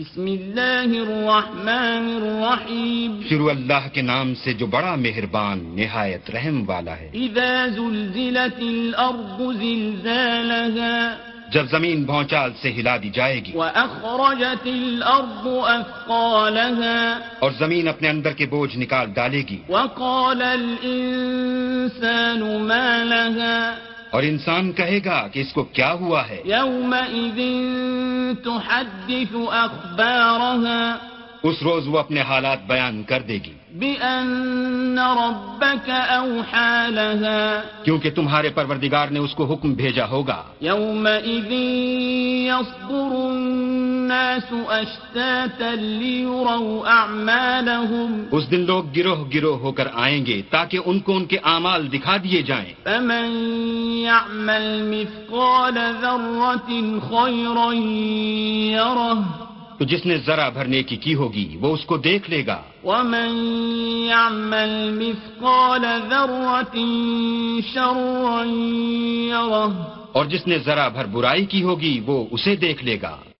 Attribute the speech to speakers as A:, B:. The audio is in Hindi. A: بسم الله الرحمن الرحيم
B: शुरू अल्लाह के नाम से जो बड़ा मेहरबान निहायत रहम वाला है
A: إذا زلزلت الأرض زلزالها
B: जब जमीन भौचाल से हिला दी जाएगी
A: وأخرجت الأرض أثقالها
B: और जमीन अपने अंदर के बोझ निकाल डालेगी
A: وقال الإنسان ما لها
B: और इंसान कहेगा कि इसको क्या हुआ है
A: يومئذ تحدث أخبارها
B: उस रोज वो अपने हालात बयान कर देगी
A: بأن ربك أوحى لها
B: क्योंकि तुम्हारे परवरदिगार ने उसको हुक्म भेजा होगा
A: يومئذ يصدر الناس أشتاتا ليروا أعمالهم
B: उस दिन लोग गिरोह गिरोह होकर आएंगे ताकि उनको उनके आमाल दिखा दिए जाएं
A: فمن يعمل مثقال ذرة خيرا يره
B: तो जिसने जरा भर नेकी की होगी वो उसको देख लेगा
A: ومن يعمل مثقال ذرة شرا يره
B: और जिसने जरा भर बुराई की होगी वो उसे देख लेगा